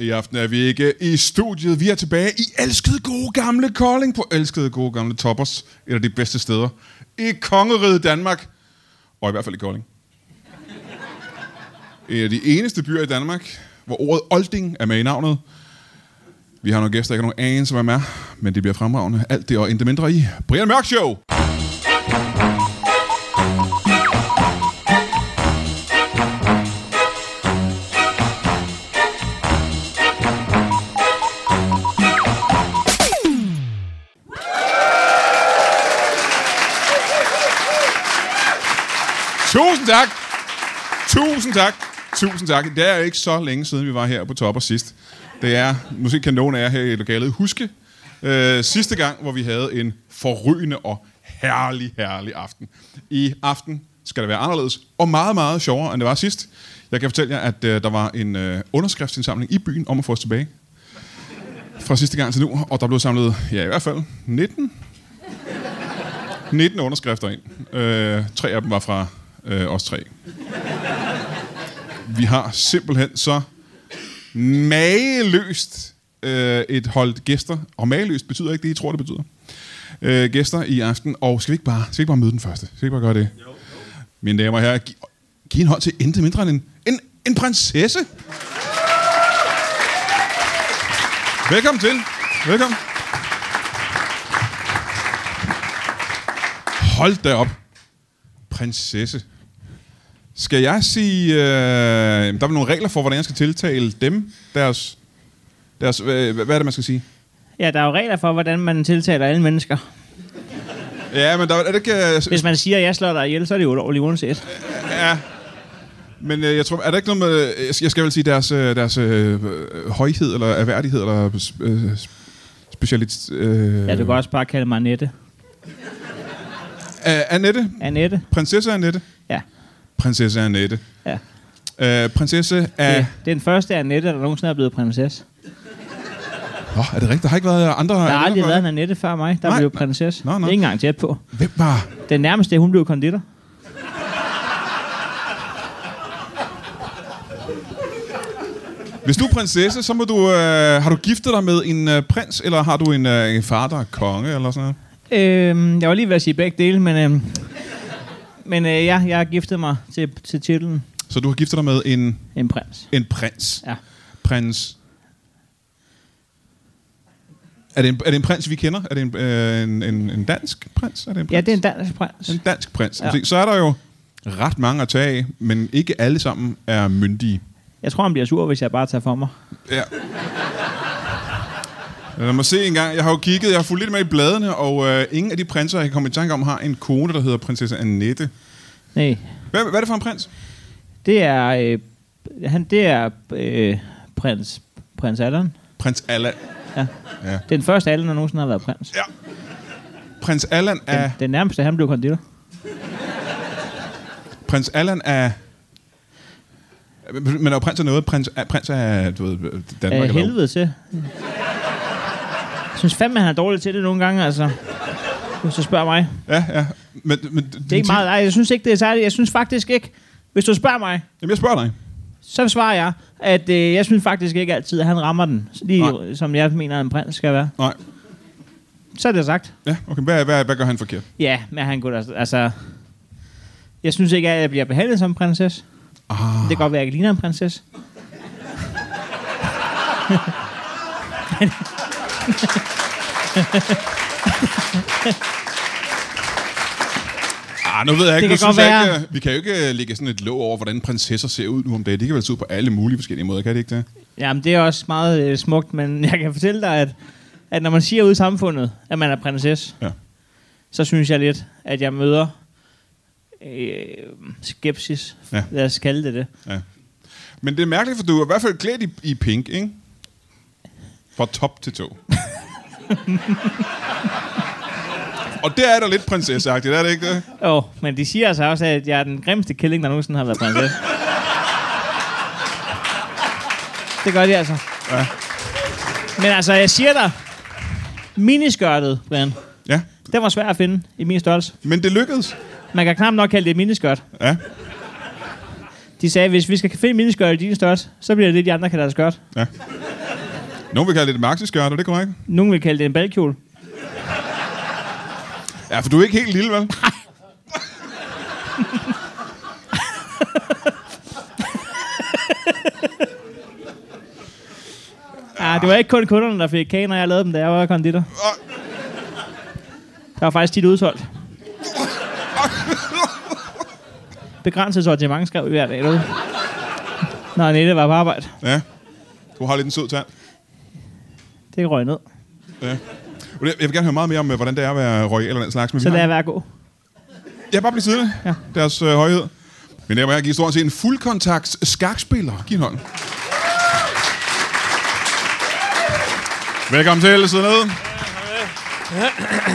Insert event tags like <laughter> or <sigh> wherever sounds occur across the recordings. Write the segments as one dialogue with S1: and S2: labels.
S1: I aften er vi ikke i studiet. Vi er tilbage i elskede gode gamle Kolding på elskede gode gamle Toppers. Et af de bedste steder i kongeriget Danmark. Og i hvert fald i Kolding. En af de eneste byer i Danmark, hvor ordet olding er med i navnet. Vi har nogle gæster, jeg ikke har nogen anelse, hvem er, men det bliver fremragende. Alt det og intet mindre i Brian Mørk Show. Tusind tak. Tusind tak. Tusind tak. Det er ikke så længe siden, vi var her på Topper sidst. Det er, måske kan nogen af jer her i lokalet huske, øh, sidste gang, hvor vi havde en forrygende og herlig, herlig aften. I aften skal det være anderledes, og meget, meget sjovere, end det var sidst. Jeg kan fortælle jer, at øh, der var en øh, underskriftsindsamling i byen om at få os tilbage. Fra sidste gang til nu, og der blev samlet, ja i hvert fald, 19 19 underskrifter ind. Øh, tre af dem var fra øh, os tre. Vi har simpelthen så mageløst øh, et hold gæster. Og mageløst betyder ikke det, I tror, det betyder. Øh, gæster i aften. Og skal vi, ikke bare, skal vi ikke bare møde den første? Skal vi ikke bare gøre det? Jo, jo. Mine damer og herrer, giv, giv en hånd til intet mindre end en, en, en prinsesse. Velkommen til. Velkommen. Hold da op. Prinsesse. Skal jeg sige... Øh, der er vel nogle regler for, hvordan jeg skal tiltale dem? Deres... deres øh, hvad er det, man skal sige?
S2: Ja, der er jo regler for, hvordan man tiltaler alle mennesker.
S1: Ja, men der er det ikke... Øh,
S2: Hvis man siger, at jeg slår dig ihjel, så er det jo ulovligt uanset.
S1: ja. Men øh, jeg tror, er der ikke noget med... øh, Jeg skal vel sige deres, øh, deres øh, højhed, eller erhverdighed, eller øh, specialit... Øh,
S2: Ja, du kan også bare kalde mig Annette.
S1: Øh, Annette.
S2: Annette?
S1: Prinsesse Annette.
S2: Ja.
S1: Prinsesse Annette.
S2: ja.
S1: Øh, prinsesse af...
S2: Det, det er den første Annette, der nogensinde er blevet prinsesse.
S1: Nå, er det rigtigt? Der har ikke været andre...
S2: Der har aldrig været en Annette før mig, der
S1: Nej,
S2: blev
S1: nej.
S2: prinsesse.
S1: Nå, nå.
S2: Det er ikke engang tæt på.
S1: Hvem var...
S2: Den nærmeste, hun blev konditor.
S1: Hvis du er prinsesse, så må du... Øh, har du giftet dig med en øh, prins, eller har du en, øh, en far, der er konge, eller sådan noget?
S2: Øhm, jeg var lige ved at sige begge dele, men... Øhm, men øh, ja, jeg har giftet mig til, til titlen
S1: Så du har giftet dig med en,
S2: en prins.
S1: en prins.
S2: Ja.
S1: Prins... Er det, en, er det en prins, vi kender? Er det en, øh, en, en, en dansk prins? Er det en prins?
S2: Ja, det er en dansk prins.
S1: en dansk prins.
S2: Ja.
S1: Ja. Så er der jo ret mange at tage af, men ikke alle sammen er myndige.
S2: Jeg tror, han bliver sur, hvis jeg bare tager for mig.
S1: Ja. Lad mig se en gang. Jeg har jo kigget, jeg har fulgt lidt med i bladene, og øh, ingen af de prinser, jeg kan komme i tanke om, har en kone, der hedder prinsesse Annette.
S2: Nej,
S1: Hvad, hvad er det for en prins?
S2: det er... Øh, han, det er øh, prins, prins Allan.
S1: Prins Allan.
S2: Den første Allan, der nogensinde har været prins.
S1: Ja. Prins Allan er...
S2: Den, den nærmeste, han blev konditor.
S1: Prins Allan er... Men er jo prins af noget? Prins, er, prins af du ved, Danmark?
S2: Af
S1: eller hvad?
S2: helvede til. Jeg synes fandme, han er dårlig til det nogle gange, altså. Hvis du spørger mig.
S1: Ja, ja. Men, men,
S2: Det er ikke meget. Nej, jeg synes ikke, det er særligt. Jeg synes faktisk ikke... Hvis du spørger mig,
S1: Jamen, jeg spørger dig.
S2: så svarer jeg, at øh, jeg synes faktisk ikke altid, at han rammer den. Lige
S1: Nej.
S2: som jeg mener, en prins skal være.
S1: Nej.
S2: Så er det sagt.
S1: Ja, okay. Hvad, hvad, hvad gør han forkert?
S2: Ja, men han kunne da... Altså... Jeg synes ikke, at jeg bliver behandlet som en prinsesse. Ah. Det kan godt være, at jeg ikke ligner en prinsesse.
S1: Ah, nu ved jeg ikke. Det
S2: Det
S1: kan
S2: kan godt
S1: synes jeg
S2: være.
S1: ikke, øh, vi kan jo ikke øh, lægge sådan et låg over, hvordan prinsesser ser ud nu om dagen. De kan vel se ud på alle mulige forskellige måder, kan det ikke det?
S2: Jamen, det er også meget øh, smukt, men <laughs> jeg kan fortælle dig, at, at når man siger ude i samfundet, at man er prinsesse,
S1: Ja.
S2: så synes jeg lidt, at jeg møder øh, skepsis.
S1: Ja.
S2: Lad os kalde det det.
S1: Ja. Men det er mærkeligt, for du er i hvert fald klædt i, i pink, ikke? Fra top til
S2: <laughs>
S1: tå. Og der er der lidt prinsesseagtigt, er det ikke det?
S2: Jo, men de siger altså også, at jeg er den grimmeste killing, der nogensinde har været prinsesse. det gør de altså. Ja. Men altså, jeg siger dig, miniskørtet, Brian,
S1: Ja.
S2: den var svær at finde i min størrelse.
S1: Men det lykkedes.
S2: Man kan knap nok kalde det et miniskørt.
S1: Ja.
S2: De sagde, at hvis vi skal finde et miniskørt i din størrelse, så bliver det det, de andre kalder det skørt.
S1: Nogen vil kalde det et maxiskørt, er det korrekt?
S2: Nogen vil kalde det en balkjole.
S1: Ja, for du er ikke helt lille, vel?
S2: Ah, det var ikke kun kunderne, der fik kage, når jeg lavede dem, da jeg var konditor. Der var faktisk tit udsolgt. Begrænset sortiment skrev vi hver dag, derude. Når Annette var på arbejde.
S1: Ja. Du har lidt en sød tand.
S2: Det røg ned.
S1: Ja. Og det- Jeg vil gerne høre meget mere om, øh, hvordan det er at være royal eller den slags. Men
S2: Så
S1: vi har-
S2: lad jeg være gå.
S1: Ja, bare bliv siddende. Ja. Deres øh, højhed. Men der må jeg give stort set en fuldkontakts skakspiller. Giv en hånd. Velkommen til. Sid ned.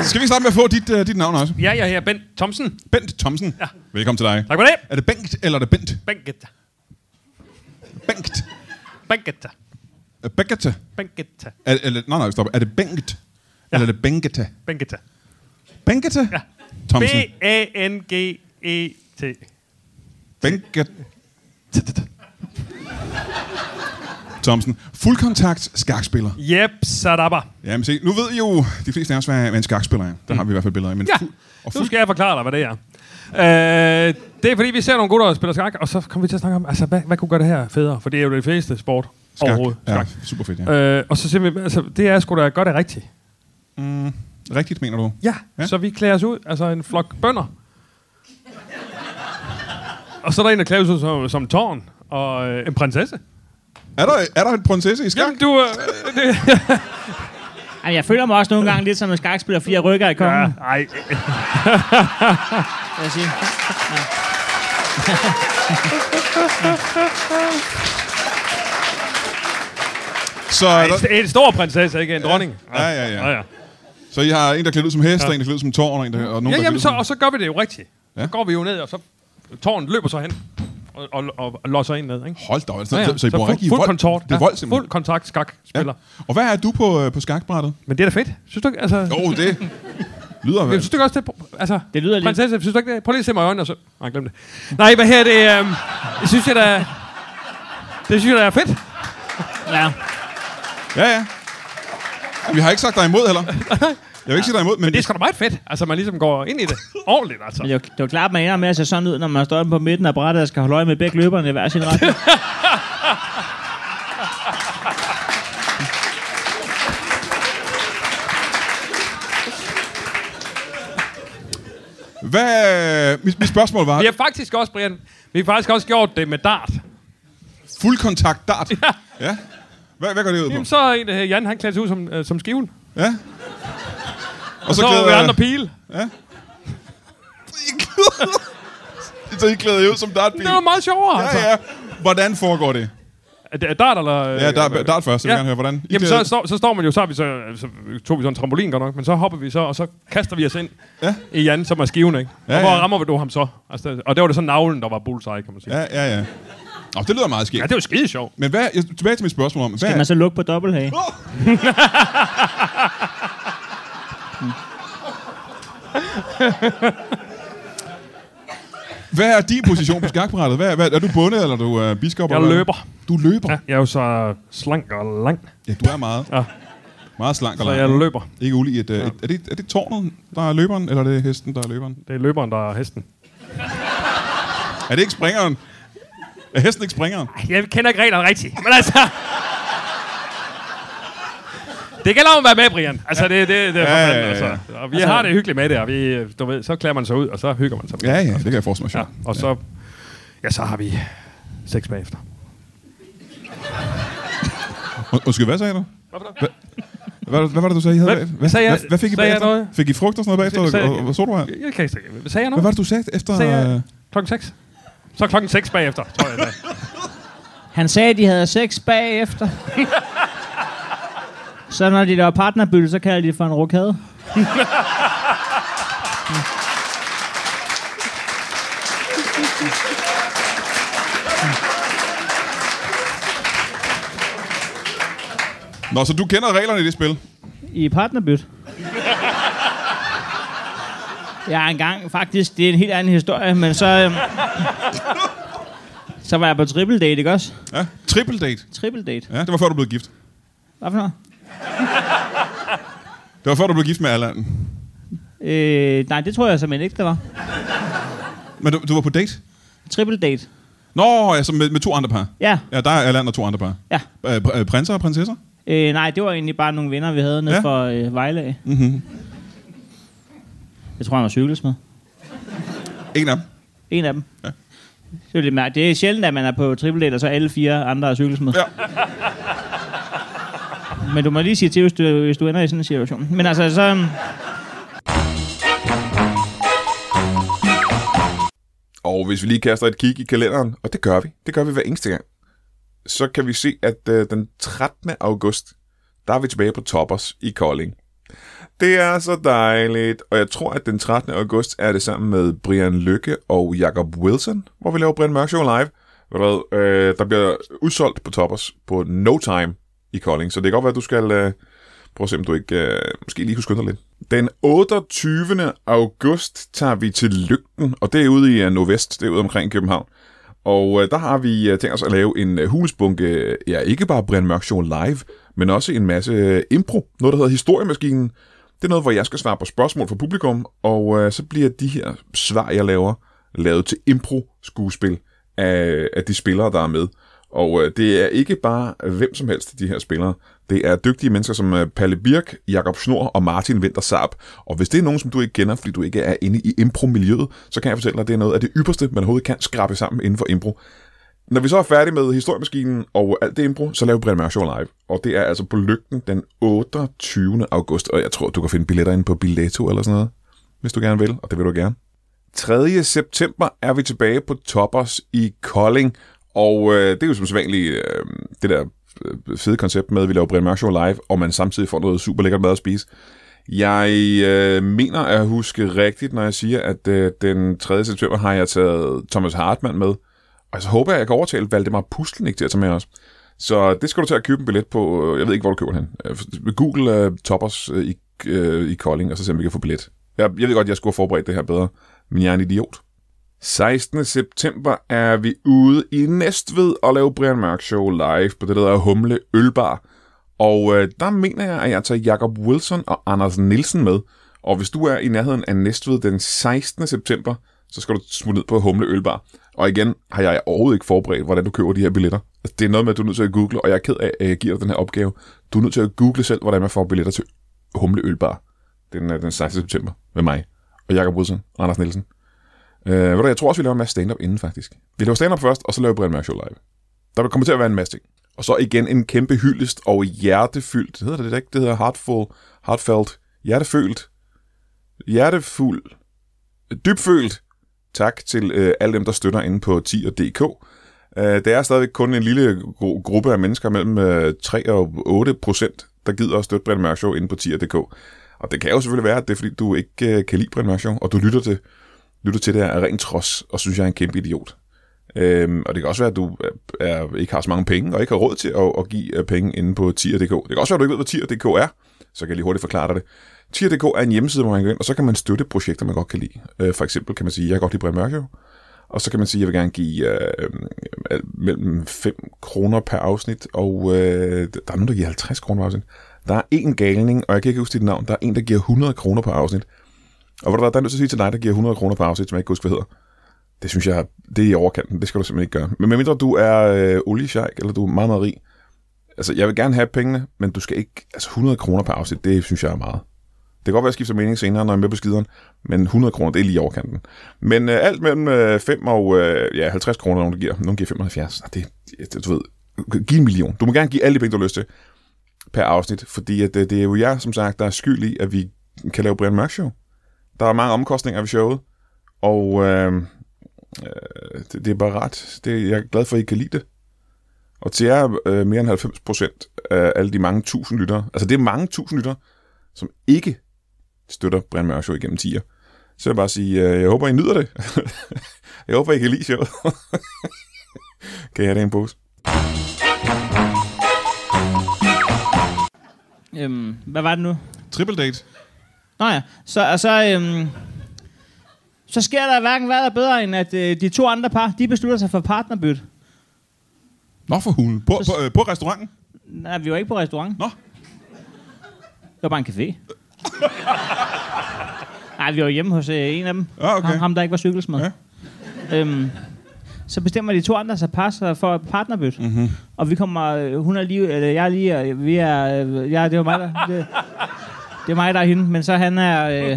S1: Skal vi starte med at få dit, uh, dit navn også?
S3: Ja, jeg hedder Bent Thomsen.
S1: Bent Thomsen. Ja. Velkommen til dig.
S3: Tak for det.
S1: Er det Bengt, eller er det Bent?
S3: Banketta.
S1: Bengt.
S3: Banketta.
S1: Øh, Bengete.
S3: Banketta.
S1: Er, eller, nej, nej, stop. Er det Bengt? Ja. Eller er det Bengete?
S3: Banketta.
S1: Bengete?
S3: Ja.
S1: Thomsen.
S3: B-A-N-G-E-T.
S1: Bengete. Thomsen. Fuldkontakts skakspiller.
S3: Jep, sadabba.
S1: Jamen se, nu ved I jo de fleste af os, hvad hvad en skakspiller er. Der har vi i hvert fald billeder af. Men
S3: Ja,
S1: fu- og
S3: nu
S1: fuld,
S3: skal jeg forklare dig, hvad det er. Øh, det er fordi, vi ser nogle gutter, der spiller skak, og så kommer vi til at snakke om, altså, hvad, hvad kunne gøre det her federe? For det er jo det fedeste sport skak. overhovedet.
S1: Ja,
S3: Skak.
S1: super fedt, ja.
S3: Øh, og så simpelthen, altså, det er sgu da godt det rigtigt.
S1: Rigtigt, mener du?
S3: Ja,
S1: Ja.
S3: ja, så vi klæder os ud, altså en flok bønder. og så er der en, der klæder sig ud som, som tårn og øh, en prinsesse.
S1: Er der, er der en prinsesse i skak?
S3: Jamen, du... Øh, det,
S2: Jamen, jeg føler mig også nogle gange lidt som en skakspiller, fordi jeg rykker i kongen. Ja.
S3: nej.
S2: Jeg sige.
S1: Så, er der,
S3: En stor prinsesse, ikke en dronning.
S1: Ja, ja, ja.
S3: ja.
S1: så I har en, der klædt ud som hest, ja. en, der klædt ud som tårn, og en, der, og nogen,
S3: ja
S1: der
S3: jamen,
S1: klædt
S3: så,
S1: ud
S3: og så gør vi det jo rigtigt.
S1: Ja.
S3: Så går vi jo ned, og så... Tårnet løber så hen og, og, og, og låser en ned, ikke?
S1: som... Hold da, op, så, ja, ja. så, I bruger
S3: fuld,
S1: rigtig
S3: fuld
S1: vold.
S3: kontakt.
S1: Det er vold simpelthen.
S3: Fuld kontakt skak spiller. Ja.
S1: Og hvad er du på, øh, på skakbrættet?
S3: Men det er da fedt. Synes du ikke? Altså,
S1: Jo, oh, det lyder
S3: Jeg
S1: vel.
S3: synes du ikke også, det er... Altså,
S2: Det lyder lidt-
S3: Prinsesse, synes du ikke det? Prøv lige at se mig i øjnene, og så... Nej, glem det. Nej, hvad her det... Um, jeg synes, jeg da... Det synes jeg da er fedt.
S2: Ja.
S1: Ja, ja. Og Vi har ikke sagt dig imod
S3: <laughs>
S1: heller. Jeg vil ikke sige dig imod, men,
S3: Men det er sgu da meget fedt. Altså, man ligesom går ind i det ordentligt, altså.
S2: Men det er jo- det er jo klart, at man ender med at se sådan ud, når man står inde på midten af brættet og skal holde øje med begge løberne i hver sin retning.
S1: hvad, øh, mit, mit spørgsmål var,
S3: Vi har faktisk også, Brian, vi har faktisk også gjort det med dart.
S1: fuldkontakt dart.
S3: Ja.
S1: ja. Hvad, hvad går det ud på?
S3: Jamen, så er en, øh, Jan, han klæder sig ud som, øh, som skiven.
S1: Ja. Og
S3: Så, så
S1: glæder
S3: er vi
S1: jeg-
S3: andre pile.
S1: <laughs> I klæder- så I klæder jer ud som dartbil?
S3: Det var meget sjovere, altså.
S1: Ja, ja. Hvordan foregår det?
S3: Er det- er dart, eller... øh,
S1: Ja, der, dart først. Jeg vil gerne høre, hvordan. I
S3: Jamen,
S1: klæder-
S3: så, så, så, står man jo, så, har vi så, så tog vi så en trampolin godt nok, men så hopper vi så, og så kaster vi os ind
S1: Ja.
S3: i Jan, som er skiven, ikke?
S1: Ja,
S3: Ja, og hvor
S1: ja.
S3: rammer vi du ham så? Altså, det- og det var det så navlen, der var bullseye, kan man sige. Ja,
S1: Ja, ja, ja. Nå, det lyder meget
S3: ja
S1: skægt.
S3: det var skide sjovt.
S1: Men hvad, jeg, tilbage til mit spørgsmål om, hvad,
S2: Kan man så lukke på dobbelthage?
S1: hvad er din position på skakbrættet? Hvad, hvad, er du bundet, eller er du øh, biskop?
S3: Jeg
S1: eller hvad?
S3: løber.
S1: Du løber?
S3: Ja, jeg er jo så slank og lang,
S1: Ja, du er meget,
S3: Ja.
S1: meget slank og
S3: så
S1: lang.
S3: jeg løber.
S1: Ikke ulig et, øh, et, er, det, er det tårnet, der er løberen, eller er det hesten, der er løberen?
S3: Det er løberen, der er hesten.
S1: Er det ikke springeren? Er hesten ikke springeren?
S3: Jeg kender ikke reglerne rigtigt, men altså... Det gælder om at være med, Brian. Altså, det, det, det er
S1: Ja, ja, ja,
S3: ja, ja, ja.
S1: ja.
S3: Altså. Og vi altså, har det hyggeligt med det, og vi, øh, du ved, så klæder man sig ud, og så hygger man sig. med
S1: Ja,
S3: det.
S1: ja, det kan jeg forestille mig.
S3: Ja,
S1: sjovt.
S3: og så, ja, så har vi sex bagefter.
S1: Und- Undskyld, hvad sagde du?
S3: Hvorfor
S1: Hvad, hvad var det, du sagde, I havde
S3: Hvad-
S1: bag-
S3: sagde jeg-
S1: hvad, hvad fik I
S3: sagde jeg
S1: bagefter?
S3: noget?
S1: Fik I frugt og sådan noget bagefter?
S3: Sagde-
S1: og, og, hvad så du her?
S3: Jeg kan ikke sige. Sagde
S1: Hvad
S3: jeg noget?
S1: var det, du sagde efter?
S3: Sagde
S1: øh,
S3: jeg klokken 6? Så klokken 6 bagefter, tror jeg. Det. er.
S2: Han sagde, at de havde sex bagefter. så når de laver partnerbytte, så kalder de det for en rokade.
S1: Nå, så du kender reglerne i det spil.
S2: I partnerbytte. Jeg har engang, faktisk, det er en helt anden historie, men så... Øhm, så var jeg på triple date, ikke også?
S1: Ja, triple date.
S2: Triple date.
S1: Ja, det var før, du blev gift.
S2: Hvad for noget?
S1: Det var før, du blev gift med Allan.
S2: Øh, nej, det tror jeg simpelthen ikke, det var.
S1: Men du, du var på date?
S2: Triple date.
S1: Nå, altså med, med to andre par.
S2: Ja,
S1: Ja, der er Allan og to andre par.
S2: ja.
S1: Øh, pr- øh, prinser og prinsesser?
S2: Øh, nej, det var egentlig bare nogle venner, vi havde nede
S1: Ja.
S2: ja. for øh, Vejle. af. Jeg tror, han var cykelsmed.
S1: En af dem.
S2: En af dem. Ja. Det er, jo lidt mærkeligt. det er sjældent, at man er på triple date, og så alle fire andre er cykelsmed.
S1: Ja.
S2: Men du må lige sige til, hvis du, hvis du ender i sådan en situation. Men altså, så... øhm,
S4: Og hvis vi lige kaster et kig i kalenderen, og det gør vi, det gør vi hver eneste gang, så kan vi se, at øh, den 13. august, der er vi tilbage på Toppers i Kolding. Det er så dejligt, og jeg tror, at den 13. august er det sammen med Brian Lykke og Jacob Wilson, hvor vi laver Brian Mørk Show live. Ved du hvad, øh, der bliver udsolgt på Toppers på no time i Kolding, så det kan godt være, at du skal øh, prøve at se, om du ikke øh, måske lige kunne skynde dig lidt. Den 28. august tager vi til Lygten, og det er ude i øh, Nordvest, det er ude omkring København. Og øh, der har vi øh, tænkt os at lave en øh, hulsbunke, øh, ja ikke bare Brian Mørk Show live, men også en masse øh, impro, noget der hedder Historiemaskinen. Det er noget, hvor jeg skal svare på spørgsmål fra publikum, og øh, så bliver de her svar, jeg laver, lavet til impro-skuespil af, af de spillere, der er med. Og øh, det er ikke bare øh, hvem som helst, de her spillere. Det er dygtige mennesker som øh, Palle Birk, Jakob Snor og Martin Winter Saab. Og hvis det er nogen, som du ikke kender, fordi du ikke er inde i impro-miljøet, så kan jeg fortælle dig, at det er noget af det ypperste, man overhovedet kan skrabe sammen inden for impro. Når vi så er færdige med historiemaskinen og alt det impro, så laver Brian Mørk Show live. Og det er altså på lygten den 28. august, og jeg tror, du kan finde billetter inde på Billetto eller sådan noget, hvis du gerne vil, og det vil du gerne. 3. september er vi tilbage på Toppers i Kolding, og øh, det er jo som sædvanligt øh, det der øh, fede koncept med, at vi laver Brian Mørk Show live, og man samtidig får noget super lækkert mad at spise. Jeg øh, mener at huske rigtigt, når jeg siger, at øh, den 3. september har jeg taget Thomas Hartmann med, og så håber jeg, at jeg kan overtale Valdemar Pustelnik til at tage med os. Så det skal du til at købe en billet på. Jeg ved ikke, hvor du køber den. Øh, Google uh, Toppers uh, i, uh, i Kolding, og så se, om vi kan få billet. Jeg, jeg ved godt, jeg skulle have forberedt det her bedre, men jeg er en idiot. 16. september er vi ude i Næstved og lave Brian Mørk Show live på det, der hedder Humle Ølbar. Og øh, der mener jeg, at jeg tager Jakob Wilson og Anders Nielsen med. Og hvis du er i nærheden af Næstved den 16. september, så skal du smutte ned på Humle Ølbar. Og igen har jeg overhovedet ikke forberedt, hvordan du køber de her billetter. Altså, Det er noget med, at du er nødt til at google, og jeg er ked af, at jeg giver dig den her opgave. Du er nødt til at google selv, hvordan man får billetter til Humle Ølbar. Den, øh, den 16. september med mig og Jakob Wilson og Anders Nielsen. Øh, ved du, hvad, jeg tror også, vi laver en masse stand-up inden, faktisk. Vi laver stand-up først, og så laver vi Brian Mørk Show live. Der kommer til at være en masse ting. Og så igen en kæmpe hyldest og hjertefyldt. Hedder det det ikke? Det hedder heartful, heartfelt, hjertefølt, hjertefuld, dybfølt. Tak til øh, alle dem, der støtter inde på 10.dk. Øh, det er stadigvæk kun en lille gru- gruppe af mennesker mellem øh, 3 og 8 procent, der gider at støtte Brian Mørk Show inde på 10.dk. Og det kan jo selvfølgelig være, at det er, fordi du ikke øh, kan lide Brian Mørk Show, og du lytter til, lytter til det her af ren trods, og synes, jeg er en kæmpe idiot. Øhm, og det kan også være, at du er, er, ikke har så mange penge, og ikke har råd til at, at give øh, penge inde på tier.dk. Det kan også være, at du ikke ved, hvad tier.dk er, så kan jeg lige hurtigt forklare dig det. Tier.dk er en hjemmeside, hvor man kan gå ind, og så kan man støtte projekter, man godt kan lide. Øh, for eksempel kan man sige, jeg kan godt lide Brian Mørk jo. Og så kan man sige, jeg vil gerne give øh, øh, mellem 5 kroner per afsnit, og øh, der er nogen, der giver 50 kroner per afsnit. Der er en galning, og jeg kan ikke huske dit navn, der er en, der giver 100 kroner per afsnit. Og hvor der, der er nødt til at sige til dig, der giver 100 kroner per afsnit, som jeg ikke kan huske, hvad hedder. Det synes jeg, det er i overkanten. Det skal du simpelthen ikke gøre. Men medmindre du er øh, oliesjejk, eller du er meget, meget rig. Altså, jeg vil gerne have pengene, men du skal ikke... Altså, 100 kroner per afsnit, det synes jeg er meget. Det kan godt være, at jeg skifter mening senere, når jeg er med på skideren, men 100 kroner, det er lige i overkanten. Men øh, alt mellem øh, 5 og øh, ja, 50 kroner, er nogen der giver. Nogen giver 75. Ah, Det, det, du ved, giv en million. Du må gerne give alle de penge, du har lyst til per afsnit, fordi at, øh, det er jo jer, som sagt, der er skyld i, at vi kan lave Brian Mørk Show. Der er mange omkostninger ved showet, og øh, øh, det, det er bare ret. Det, jeg er glad for, at I kan lide det. Og til jer øh, mere end 90 procent af alle de mange tusind lyttere, altså det er mange tusind lyttere, som ikke støtter Brian Mørk Show igennem 10'er, så vil jeg bare sige, øh, jeg håber, I nyder det. <laughs> jeg håber, I kan lide showet. <laughs> kan I have det i en pose?
S2: Øhm, hvad var det nu?
S1: Triple date.
S2: Nå ja, så, og så, øhm, så sker der hverken hvad der bedre, end at øh, de to andre par, de beslutter sig for partnerbyt.
S1: Nå for hulen. På,
S2: Så-
S1: på, øh, på restauranten.
S2: Nej, vi var ikke på restaurant.
S1: Nå.
S2: Det var bare en café. Nej, vi var hjemme hos øh, en af dem.
S1: Ah, okay.
S2: ham, ham, der ikke var cykelsmed.
S1: Ja.
S2: Øhm, så bestemmer de to andre sig par sig for et partnerbyt. Mm-hmm.
S1: Mhm.
S2: Og vi kommer... øh, Hun er lige... Eller jeg er lige... og Vi er... øh, Ja, det var mig, der... Det, det er mig, der er hende. Men så han er... Øh,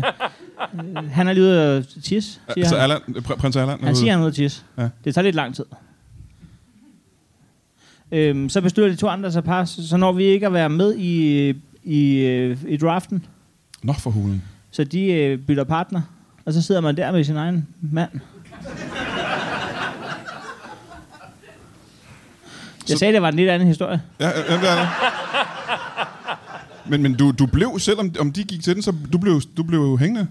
S2: øh, han er lige ude at tisse, siger
S1: Så
S2: han.
S1: Allan, øh, pr- prins Allan. er
S2: Han
S1: ude.
S2: siger, han er ude at tisse.
S1: Ja.
S2: Ja. Det tager lidt lang tid. Øhm, så beslutter de to andre sig par, så så når vi ikke at være med i, i, øh, i draften.
S1: Nå for hulen.
S2: Så de øh, bytter partner, og så sidder man der med sin egen mand. Jeg sagde, det var en lidt anden historie.
S1: Ja, øh, jamen, det er det. Men, men du, du blev, selvom om de gik til den, så du blev, du blev hængende.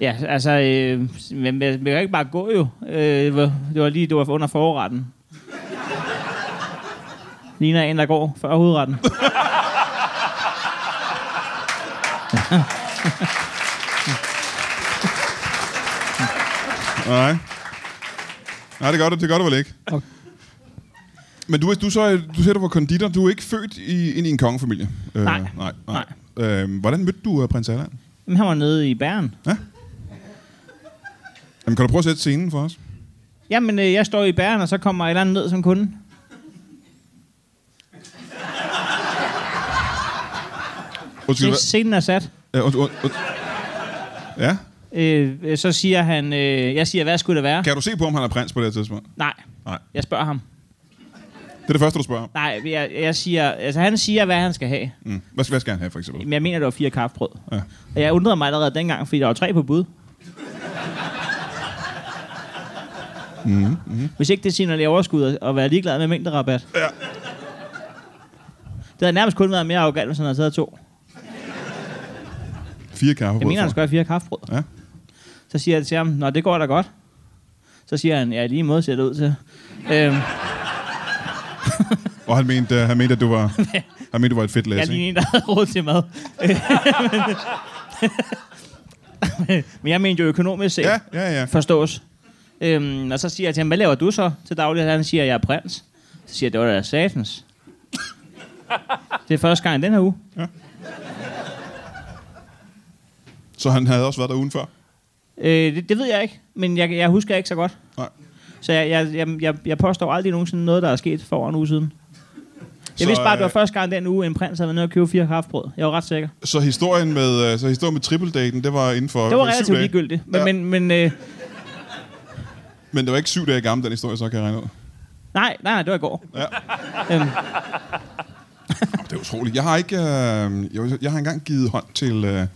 S2: Ja, altså, øh, men man, man kan ikke bare gå jo. Øh, det var- det var lige det var under forretten. Ligner en, der går før hovedretten.
S1: Nej. Nej, det gør du, det gør du vel ikke.
S2: Okay.
S1: Men du, du, så, du siger, du var konditor. Du er ikke født i, ind i en kongefamilie. Øh,
S2: Nej.
S1: Nej. nej. Øh, hvordan mødte du uh, prins Allan?
S2: Jamen, han var nede i Bæren.
S1: Ja? Jamen, kan du prøve at sætte scenen for os?
S2: Jamen, øh, jeg står i Bæren, og så kommer et eller andet ned som kunde.
S1: Undskyld,
S2: Så
S1: hvad?
S2: scenen er sat.
S1: Øh, und, und, und. Ja?
S2: Øh, øh, så siger han... Øh, jeg siger, hvad skulle det være?
S1: Kan du se på, om han er prins på det her tidspunkt?
S2: Nej.
S1: Nej.
S2: Jeg spørger ham.
S1: Det er det første, du spørger om.
S2: Nej, jeg, jeg siger... Altså, han siger, hvad han skal have.
S1: Mm. Hvad, hvad skal han have, for eksempel?
S2: Men jeg mener, det var fire kaffebrød.
S1: Ja.
S2: Og jeg undrede mig allerede dengang, fordi der var tre på bud. Mm-hmm. Hvis ikke det signalerer overskud at- at være ligeglad med mængderabat. Ja. Det havde nærmest kun været mere arrogant, hvis han havde taget to.
S1: Fire kaffe.
S2: Jeg mener, han skal have fire kaffebrød.
S1: Ja.
S2: Så siger jeg til ham, nå, det går da godt. Så siger han, ja, lige måde ser det ud til. Øhm,
S1: Og han mente, øh, han mente, at du
S2: <laughs>
S1: var, han mente, du var et fedt
S2: jeg er
S1: læs,
S2: lige
S1: ikke?
S2: en, der <laughs> havde råd til mad. Øh, men- Men jeg mente jo økonomisk set.
S1: Ja, ja, ja.
S2: forstås. Øhm, og så siger jeg til ham, hvad laver du så til daglig? Og han siger, jeg er prins. Så siger jeg, det var da satans. det er første gang i den her uge.
S1: Så han havde også været der ugen før?
S2: Øh, det, det, ved jeg ikke, men jeg, jeg husker ikke så godt.
S1: Nej.
S2: Så jeg, jeg, jeg, jeg, jeg påstår aldrig nogensinde noget, der er sket for over en uge siden. Jeg
S1: Så,
S2: vidste bare, at det var
S1: øh,
S2: første gang den uge, en prins havde været nede og købe fire kaffebrød. Jeg var ret sikker.
S1: Så historien med, øh, så historien med triple-daten, det var inden for
S2: Det var
S1: for syv
S2: relativt
S1: dage.
S2: ligegyldigt. Men,
S1: Ja.
S2: ja. men, men øh,
S1: Men det var ikke syv dage gammel, den historie, så kan jeg regne ud.
S2: nej, nej, nej, det var i går.
S1: Ja.
S2: Øhm,
S1: Det er utroligt. Jeg har ikke, øh, jeg, jeg har engang givet hånd til øh,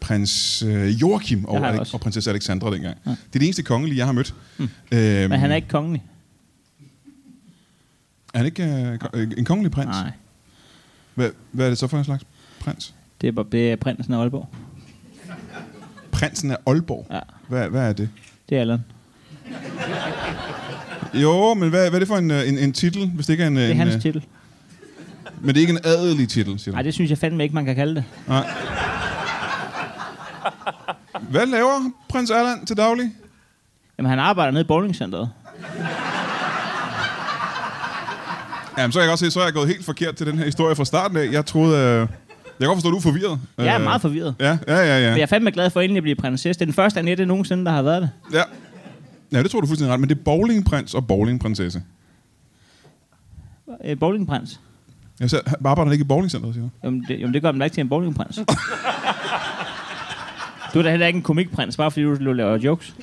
S1: prins øh, Joachim og,
S2: har jeg
S1: Alek-
S2: også.
S1: og prinsesse Alexandra dengang. Ja. Det er det eneste kongelige, jeg har mødt. Mm. Øhm,
S2: men han er ikke kongelig.
S1: Er han ikke øh, ko- øh, en kongelig prins?
S2: Nej,
S1: Hvad, hvad er det så for en slags prins?
S2: det er, bare- det er prinsen af Aalborg.
S1: Prinsen af Aalborg?
S2: Ja.
S1: Hvad, hvad er det?
S2: Det er Allan.
S1: Jo, men hvad, hvad er det for en, øh, en, en titel, hvis det ikke er en...
S2: Det er
S1: en,
S2: hans
S1: øh,
S2: titel.
S1: Men det er ikke en adelig titel, siger du?
S2: Nej, det synes jeg fandme ikke, man kan kalde det.
S1: Hvad laver prins Allan til daglig?
S2: Jamen, han arbejder nede i bowlingcenteret.
S1: Jamen, så kan jeg godt se, så er jeg gået helt forkert til den her historie fra starten af. Jeg troede... Øh... Jeg kan godt forstå, at du er forvirret.
S2: Jeg er
S1: Øh,
S2: meget forvirret.
S1: Ja, ja, ja, ja.
S2: Men jeg
S1: ja.
S2: er fandme glad for endelig at blive prinsesse. Det er den første Annette nogensinde, der har været det.
S1: ja. Ja, det tror du er fuldstændig ret, men det er bowlingprins og bowlingprinsesse.
S2: Øh, bowlingprins.
S1: Jeg ser, han arbejder ikke i bowlingcenteret, siger du?
S2: Jamen det, jamen, det gør dem da ikke til en
S1: <laughs>
S2: bowlingprins. Du er da heller ikke en komikprins, bare fordi du laver jokes.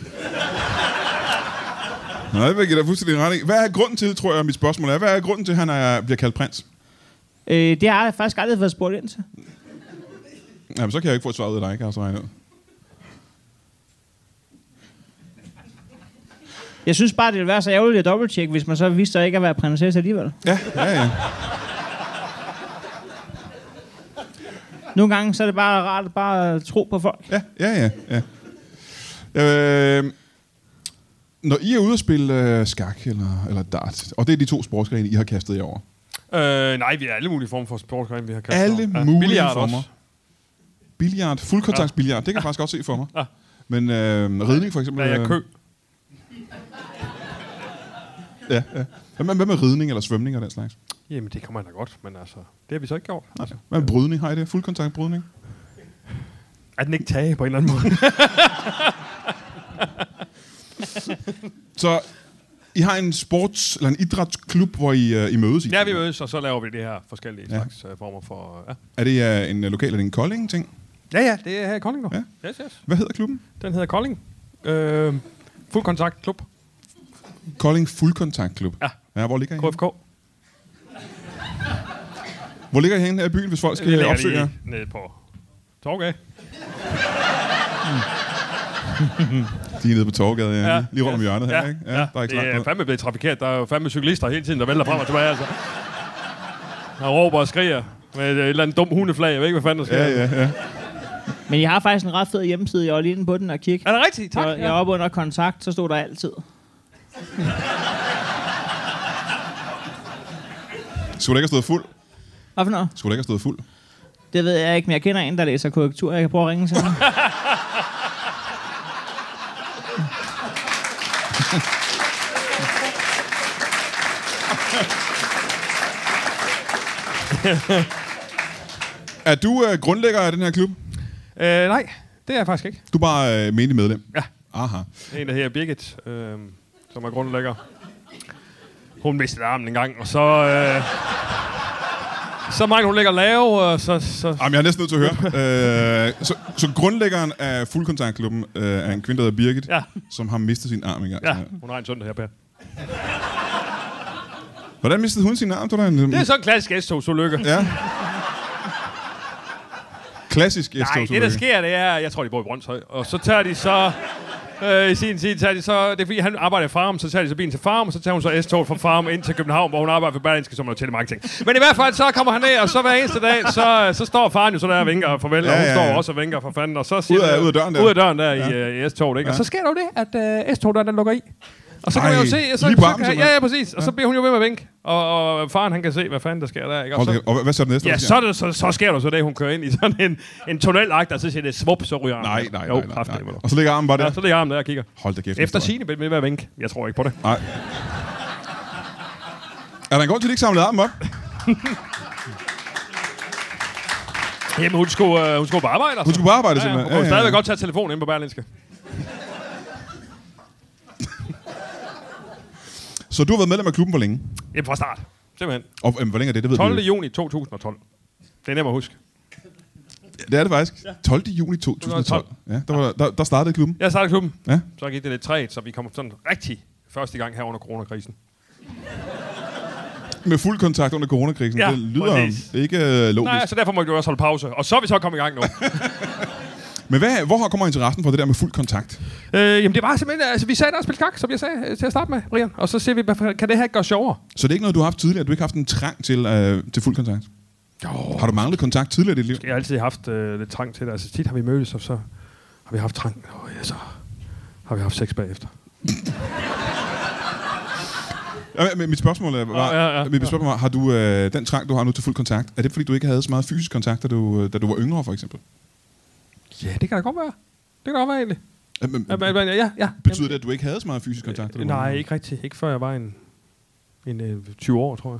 S1: Nej, det vil jeg give dig fuldstændig ret i. Hvad er grunden til, tror jeg, mit spørgsmål er, hvad er grunden til, at han er, bliver kaldt prins?
S2: Øh, det har jeg faktisk aldrig været spurgt ind til.
S1: Jamen, så kan jeg ikke få et svar ud af dig, kan jeg så regne ud.
S2: Jeg synes bare, det ville være så ærgerligt at dobbelttjekke, hvis man så viste sig ikke at være prinsesse alligevel.
S1: Ja, ja, ja.
S2: Nogle gange så er det bare rart at bare tro på folk.
S1: Ja, ja, ja. ja. Øh, når I er ude at spille øh, skak eller, eller dart, og det er de to sportsgrene, I har kastet jer over.
S3: Øh, nej, vi er alle mulige former for sportsgrene, vi har kastet.
S1: Alle
S3: over.
S1: mulige
S3: billiard
S1: former.
S3: også.
S1: Billiard, fuldkontaktsbilliard, det kan jeg faktisk godt se for mig.
S3: Ja.
S1: Men øh, ridning for eksempel...
S3: Ja, jeg
S1: øh,
S3: kø.
S1: Ja, ja. Hvad med, hvad med ridning eller svømning og den slags?
S3: Jamen, det kommer jeg da godt, men altså, det har vi så ikke gjort.
S1: Nej. Hvad med brydning? Har I det? Fuldkontaktbrydning?
S3: Er den ikke tage på en eller anden måde?
S1: Så I har en sports- eller en idrætsklub, hvor I, øh, I mødes i?
S3: ja, vi mødes, og så laver vi det her forskellige
S1: Ja.
S3: ja. slags øh, former for... Ja.
S1: Er det øh, en øh, lokal eller en Kolding-ting?
S3: ja, ja, det er her i Kolding nu.
S1: Ja.
S3: Ja. Yes, yes.
S1: Hvad hedder klubben?
S3: Den hedder Kolding. Øh, fuld kontakt klub.
S1: Kolding Fuldkontaktklub.
S3: Ja.
S1: ja. hvor ligger I? henne?
S3: KFK.
S1: Hvor ligger I henne af byen, hvis folk
S3: Det
S1: skal
S3: ligger
S1: opsøge jer?
S3: lige nede på Torgade.
S1: De er nede på Torgade, ja. ja. Lige rundt om
S3: yes.
S1: hjørnet her, ikke?
S3: Ja, ja.
S1: Der er ikke
S3: det er
S1: langt
S3: fandme blevet trafikeret. Der er jo fandme cyklister hele tiden, der vælter frem og tilbage. Altså. Der råber og skriger med et eller andet dumt hundeflag. Jeg ved ikke, hvad fanden der sker.
S1: Ja, ja, ja.
S2: Men jeg har faktisk en ret fed hjemmeside. Jeg var lige inde på den og kigge.
S3: Er det rigtigt? Tak.
S2: Jeg, jeg er oppe under kontakt, så stod der altid.
S1: Skulle det ikke have stået fuld?
S2: Hvad for noget?
S1: Skulle det ikke have stået fuld?
S2: Det ved jeg ikke, men jeg kender en, der læser korrektur. Jeg kan prøve at ringe til ham.
S1: Er du øh, grundlægger af den her klub?
S3: Øh, nej, det er jeg faktisk ikke.
S1: Du er bare øh, menig medlem?
S3: Ja.
S1: Aha.
S3: Det er en, der hedder Birgit, øh, som er grundlægger. Hun mistede armen en gang, og så... Øh, så mange hun ligger lave, og så... så
S1: Jamen, jeg er næsten nødt til at
S3: <laughs>
S1: høre. øh, så, så grundlæggeren af fuldkontaktklubben øh, er en kvinde, der hedder Birgit,
S3: Ja.
S1: som har mistet sin arm Altså, engang.
S3: ja, hun har en søndag her, Per.
S1: Hvordan mistede hun sin arm? Du er en,
S3: Det er sådan en klassisk S-togsulykke.
S1: Ja. Klassisk s
S3: Nej, det der sker, det er, jeg tror, de bor i Brøndshøj. Og så tager de så... Øh, I sin tid tager de så... Det er fordi, han arbejder i Farm, så tager de så bilen til Farm, og så tager hun så S-toget fra Farm ind til København, hvor hun arbejder for Berlingske som noget telemarketing. Men i hvert fald, så kommer han ned, og så hver eneste dag, så, så står faren jo så der og vinker og farvel, ja, og hun
S1: ja,
S3: ja,
S1: ja.
S3: står også og vinker for fanden, og så siger
S1: Ud af-
S3: de-
S1: ud af døren der.
S3: Ud af døren der i, øh, i S-toget, ikke? Og så sker der jo det, at øh, S-toget den lukker i. Og så kan man
S1: Ej,
S3: jo se, og så,
S1: lige på armen,
S3: så kan, ja,
S1: simpelthen.
S3: ja, præcis. Og så bliver hun jo ved med at vinke, og, og faren han kan se, hvad fanden der sker der, ikke? Og så,
S1: Okay, og hvad så er det næste,
S3: Ja,
S1: der
S3: så,
S1: sker?
S3: er det, så, så sker der så det, hun kører ind i sådan en, en tunnelagt, og så siger det svup, så ryger armen.
S1: Nej, nej, nej,
S3: jo,
S1: nej, nej.
S3: kraftedeme.
S1: Og så ligger armen bare der.
S3: Ja, så ligger armen der og kigger.
S1: Hold da kæft.
S3: Efter
S1: tror jeg.
S3: sine vil være vink. Jeg tror ikke på det.
S1: Nej. Er der en grund til, at de ikke samlede armen op?
S3: Jamen, hun skulle, øh, hun skulle på arbejde.
S1: Hun
S3: Altså.
S1: skulle bare arbejde,
S3: ja, ja.
S1: simpelthen.
S3: Hun kunne stadigvæk godt tage telefonen ind på Berlinske.
S1: Så du har været medlem af klubben hvor længe?
S3: Jamen, fra start. Simpelthen.
S1: Og øhm, hvor længe er det, det ved
S3: 12.
S1: vi. jo.
S3: juni 2012. Det er nemt at huske.
S1: Det er det faktisk. 12. juni 2012. Ja, der, var, der, der startede klubben.
S3: Jeg startede klubben.
S1: Ja.
S3: Så gik det lidt træt, så vi kom sådan rigtig første gang her under coronakrisen.
S1: Med fuld kontakt under coronakrisen.
S3: Ja,
S1: det lyder
S3: præcis.
S1: ikke øh, logisk.
S3: Nej, så derfor må vi jo også holde pause. Og så er vi så kommet
S1: <laughs>
S3: i gang nu. altså-
S1: Men hvad, hvor kommer interessen for det der med fuld kontakt?
S3: øh, jamen, det var simpelthen... Altså, vi sad der og spillede skak, som jeg sagde øh, til at starte med, Brian. Og så siger vi, "Hvad for- kan det her ikke gøre sjovere?
S1: Så det er ikke noget, du har haft tidligere? Du har ikke haft en trang til, øh, til fuld kontakt? Jo. Har du manglet kontakt tidligere i dit liv?
S3: Jeg har altid haft øh, lidt trang til det. Altså tit har vi mødtes, og så har vi haft trang. Og ja, så har vi haft sex bagefter.
S1: Ja, men mit spørgsmål øh, var,
S3: Åh, ja, ja.
S1: mit spørgsmål var har du øh, den trang, du har nu til fuld kontakt, er det fordi, du ikke havde så meget fysisk kontakt, da du, øh, da du var yngre, for eksempel?
S3: Ja, det kan da godt være. Det kan da godt være egentlig.
S1: Øh, men,
S3: Ja, men- men- ja, ja.
S1: betyder det, at du ikke havde så meget fysisk kontakt? da du
S3: Jamen,
S1: var
S3: Øh, nej,
S1: yngre?
S3: ikke rigtigt. Ikke før jeg var en, en øh, 20 år, tror jeg.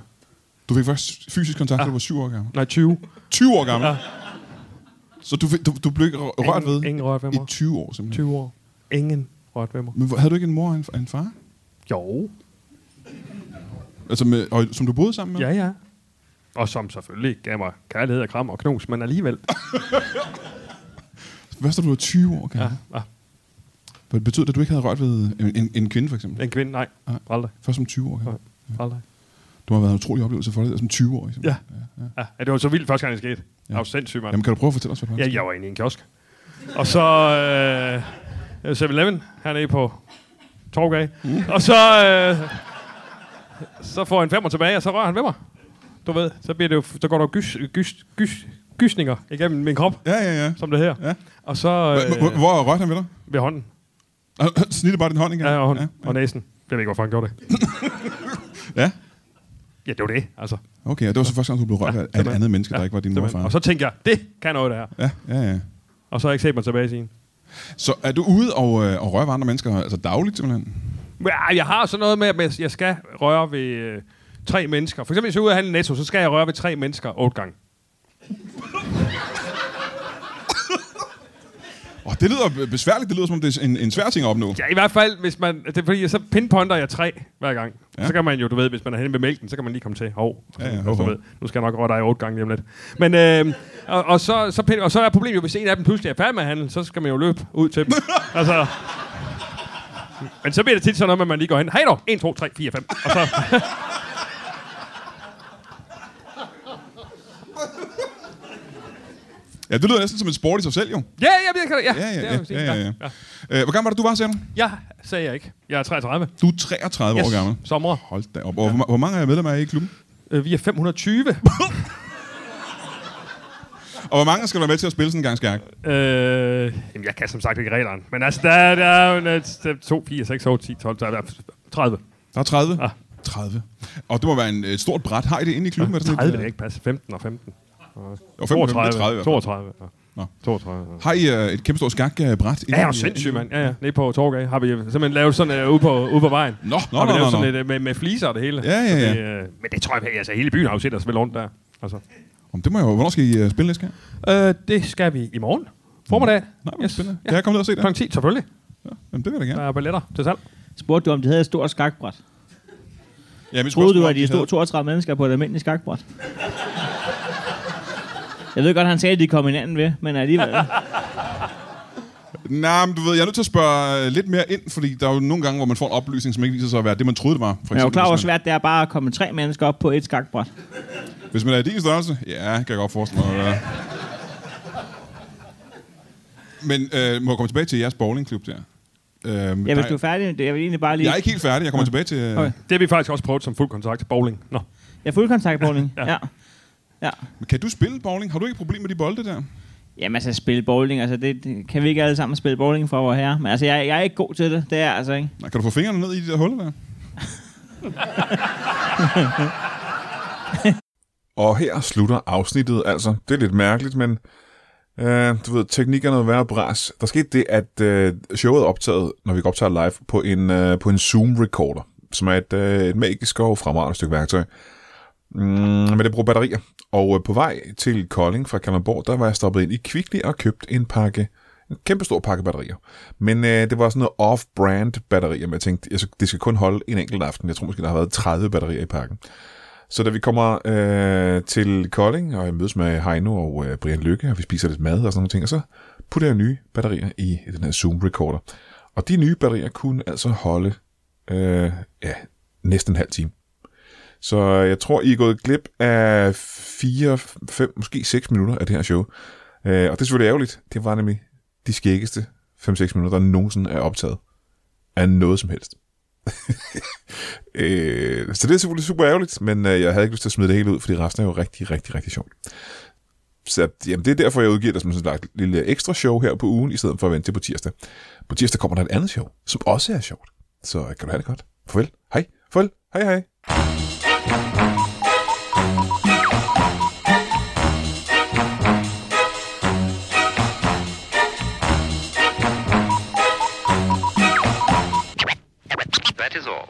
S1: Du fik først fysisk kontakt, da du var 7 år gammel.
S3: Nej, 20.
S1: 20 år gammel?
S3: Ah. Ja.
S1: Så du, fik, du, du blev ikke rø- rørt ved
S3: Ingen rørt ved
S1: i
S3: mig.
S1: 20 år, simpelthen?
S3: 20 år. Ingen rørt ved mig.
S1: Men hvor- havde du ikke en mor og en, og en far?
S3: Jo.
S1: Altså med, og, som du boede sammen med?
S3: Ja, ja. Og som selvfølgelig gav mig kærlighed og kram og knus, men alligevel.
S1: Hvad så, du var 20 år
S3: Ja,
S1: gammel?
S3: ja.
S1: Ja. Betyder det, at du ikke havde rørt ved en, en, en kvinde, for eksempel?
S3: En kvinde, nej.
S1: Nej.
S3: Aldrig.
S1: Først som 20 år gammel?
S3: Nej. Aldrig.
S1: Du har været en utrolig oplevelse for dig, som 20 år.
S3: Ja. ja. ja. det var så vildt første gang, det skete. Ja. Jeg var sindssyg, mand.
S1: Jamen, kan du prøve at fortælle os, hvad det var?
S3: Ja, jeg var øh, inde i en kiosk. Og så øh, 7-Eleven hernede på Torgade. Mm. Og så, øh, så får han femmer tilbage, og så rører han ved mig. Du ved, så, bliver det jo, så går der jo gys, gys, gys, gysninger igennem min krop,
S1: Ja, ja, ja.
S3: som det her.
S1: Ja.
S3: Og så øh,
S1: Hvor rørte han ved dig? <laughs>
S3: ved hånden.
S1: Snitte bare din hånd igen.
S3: Ja, og, hånden, og næsen. Jeg ved ikke, hvorfor han gjorde det.
S1: ja.
S3: Ja, det var det, altså.
S1: Okay, og det var så første gang, du blev rørt af et andet menneske, der ikke var din mor og
S3: Simpelthen.
S1: far.
S3: Og så tænkte jeg, det kan noget, det her.
S1: Ja, ja, ja.
S3: Og så har jeg ikke set mig tilbage siden.
S1: Så er du ude og, øh, og rører ved andre mennesker, altså dagligt simpelthen?
S3: Men, ah, Jeg har sådan noget med, at jeg skal røre ved øh, tre mennesker. For eksempel, hvis jeg er ude at handle i netto, så skal jeg røre ved tre mennesker otte gange.
S1: Og det lyder besværligt, det lyder som om det er en, en svær ting at opnå.
S3: Ja, i hvert fald, hvis man... Det er fordi, så pinpointer jeg tre hver gang. Ja. Så kan man jo, du ved, hvis man er henne ved mælken, så kan man lige komme til. Hov,
S1: Ja, ja,
S3: Så
S1: hov, hov.
S3: ved, nu skal jeg nok røre dig otte gange lige om lidt. Men, øh, og, og, så, så, pin- og så er problemet jo, hvis en af dem pludselig er færdig med at handle, så skal man jo løbe ud
S1: <laughs>
S3: til dem. altså, men så bliver det tit sådan noget, med, at man lige går hen. Hej dog! 1, 2, 3, 4, 5. Og så...
S1: <laughs> Ja, det lyder næsten som en sport i sig selv, jo.
S3: Ja, ja, det kan det. Ja,
S1: Ja, ja,
S3: det er
S1: ja,
S3: jo sin
S1: ja,
S3: gang.
S1: ja, ja. Øh, Hvor gammel var det, du var, sagde du?
S3: Ja, sagde jeg ikke. Jeg er 33.
S1: Du er 33 år gammel.
S3: Sommer.
S1: Hold da op. Og hvor, ma- hvor mange medlemmer er I i klubben?
S3: Øh, vi
S1: <laughs>
S3: er 520.
S1: Og hvor mange skal være med til at spille sådan en gang skærk?
S3: øh, jamen, jeg kan som sagt ikke reglerne. Men altså, der, er- der er jo en, øh, der er 2, 4, 6, 8, 10, 12, 13, 30.
S1: Der er 30.
S3: Ja.
S1: 30. Og det må være en, et stort bræt. Har I det inde i klubben? Er det sådan et-
S3: 30 vil ikke passe. 15 og 15.
S1: Jo,
S3: 32.
S1: 32.
S3: 32.
S1: Nå.
S3: Ja. 32.
S1: Har I øh, et kæmpe stort skakbræt?
S3: Ja, jeg er sindssyg, mand. Ja, ja. Nede på Torgade har vi simpelthen lavet sådan øh, ude, på, ude på vejen.
S1: Nå, nå,
S3: har vi
S1: nå,
S3: lavet
S1: nå,
S3: sådan
S1: nå.
S3: et, øh, med, med fliser og det hele.
S1: Ja, ja,
S3: Så
S1: ja.
S3: Det, øh, men det tror jeg, altså hele byen har jo set os vel rundt der. Altså.
S1: Om det må jeg jo. Hvornår skal I øh, spille næste gang?
S3: Øh, det skal vi i morgen. Formiddag.
S1: Nej, yes. spændende. Kan jeg komme ned og se det?
S3: Klokken 10, selvfølgelig.
S1: Jamen, det vil jeg da
S3: Der
S1: gerne.
S3: er balletter til salg.
S2: Spurgte du, om de havde et stort skakbræt?
S1: Ja, men
S2: Troede du, at de stod 32 mennesker på et almindeligt skakbræt? Jeg ved godt, han sagde, at de kom hinanden ved, men alligevel.
S1: Nej, men du ved, jeg er nødt til at spørge øh, lidt mere ind, fordi der er jo nogle gange, hvor man får en oplysning, som ikke viser sig at være det, man troede, det var. For
S2: Jeg er jo klar over, hvor
S1: hvis, man,
S2: svært det er bare at komme tre mennesker op på et skakbræt.
S1: hvis man er i din størrelse, ja, kan jeg godt forestille mig. at være. Men øh, må jeg komme tilbage til jeres bowlingklub der? Øh,
S2: Ja,
S1: der
S2: hvis du er færdig, jeg vil egentlig bare lige...
S1: jeg er ikke helt færdig, jeg kommer tilbage til... Øh,
S2: Okay.
S3: Det har vi faktisk også prøvet som fuld kontakt. Bowling. Nå.
S2: Ja, fuldkontaktbowling. ja. ja. ja.
S1: men Kan du spille bowling? Har du ikke et problem med de bolde der?
S2: Jamen altså, spille bowling, altså det, det, kan vi ikke alle sammen spille bowling for vor herre. Men altså, jeg, jeg er ikke god til det, det er jeg altså ikke.
S1: Nej, kan du få fingrene ned i de der huller der?
S4: Og her slutter afsnittet altså. Det er lidt mærkeligt, men øh, du ved, teknik er noget værre bras. Der skete det, at øh, showet er optaget, når vi optager live, på en, øh, på en Zoom-recorder, som er et, øh, et magisk og fremragende stykke værktøj. Mm, men det bruger batterier. Og øh, på vej til Kolding fra Kalundborg, der var jeg stoppet ind i Kvickly og købt en pakke en kæmpe stor pakke batterier. Men øh, det var sådan noget off-brand batterier, men jeg tænkte, jeg, det skal kun holde en enkelt aften. Jeg tror måske, der har været 30 batterier i pakken. Så da vi kommer øh, til Kolding, og jeg mødes med Heino og øh, Brian Lykke, og vi spiser lidt mad og sådan nogle ting, og så putter jeg nye batterier i den her Zoom-recorder. Og de nye batterier kunne altså holde øh, ja, næsten en halv time. Så jeg tror, I er gået glip af 4, 5, måske 6 minutter af det her show. Øh, og det er selvfølgelig ærgerligt. Det var nemlig de skæggeste 5-6 minutter, der nogensinde er optaget af noget som helst. Øh, så det er selvfølgelig super ærgerligt, men øh, jeg havde ikke lyst til at smide det hele ud, fordi resten er jo rigtig, rigtig, rigtig sjovt. Så jamen, det er derfor, jeg udgiver det som sådan et lille ekstra show her på ugen, i stedet for at vente til på tirsdag. På tirsdag kommer der et andet show, som også er sjovt. Så øh, kan du have det godt. Farvel. Hej. Farvel. Hej, hej.
S5: That is all.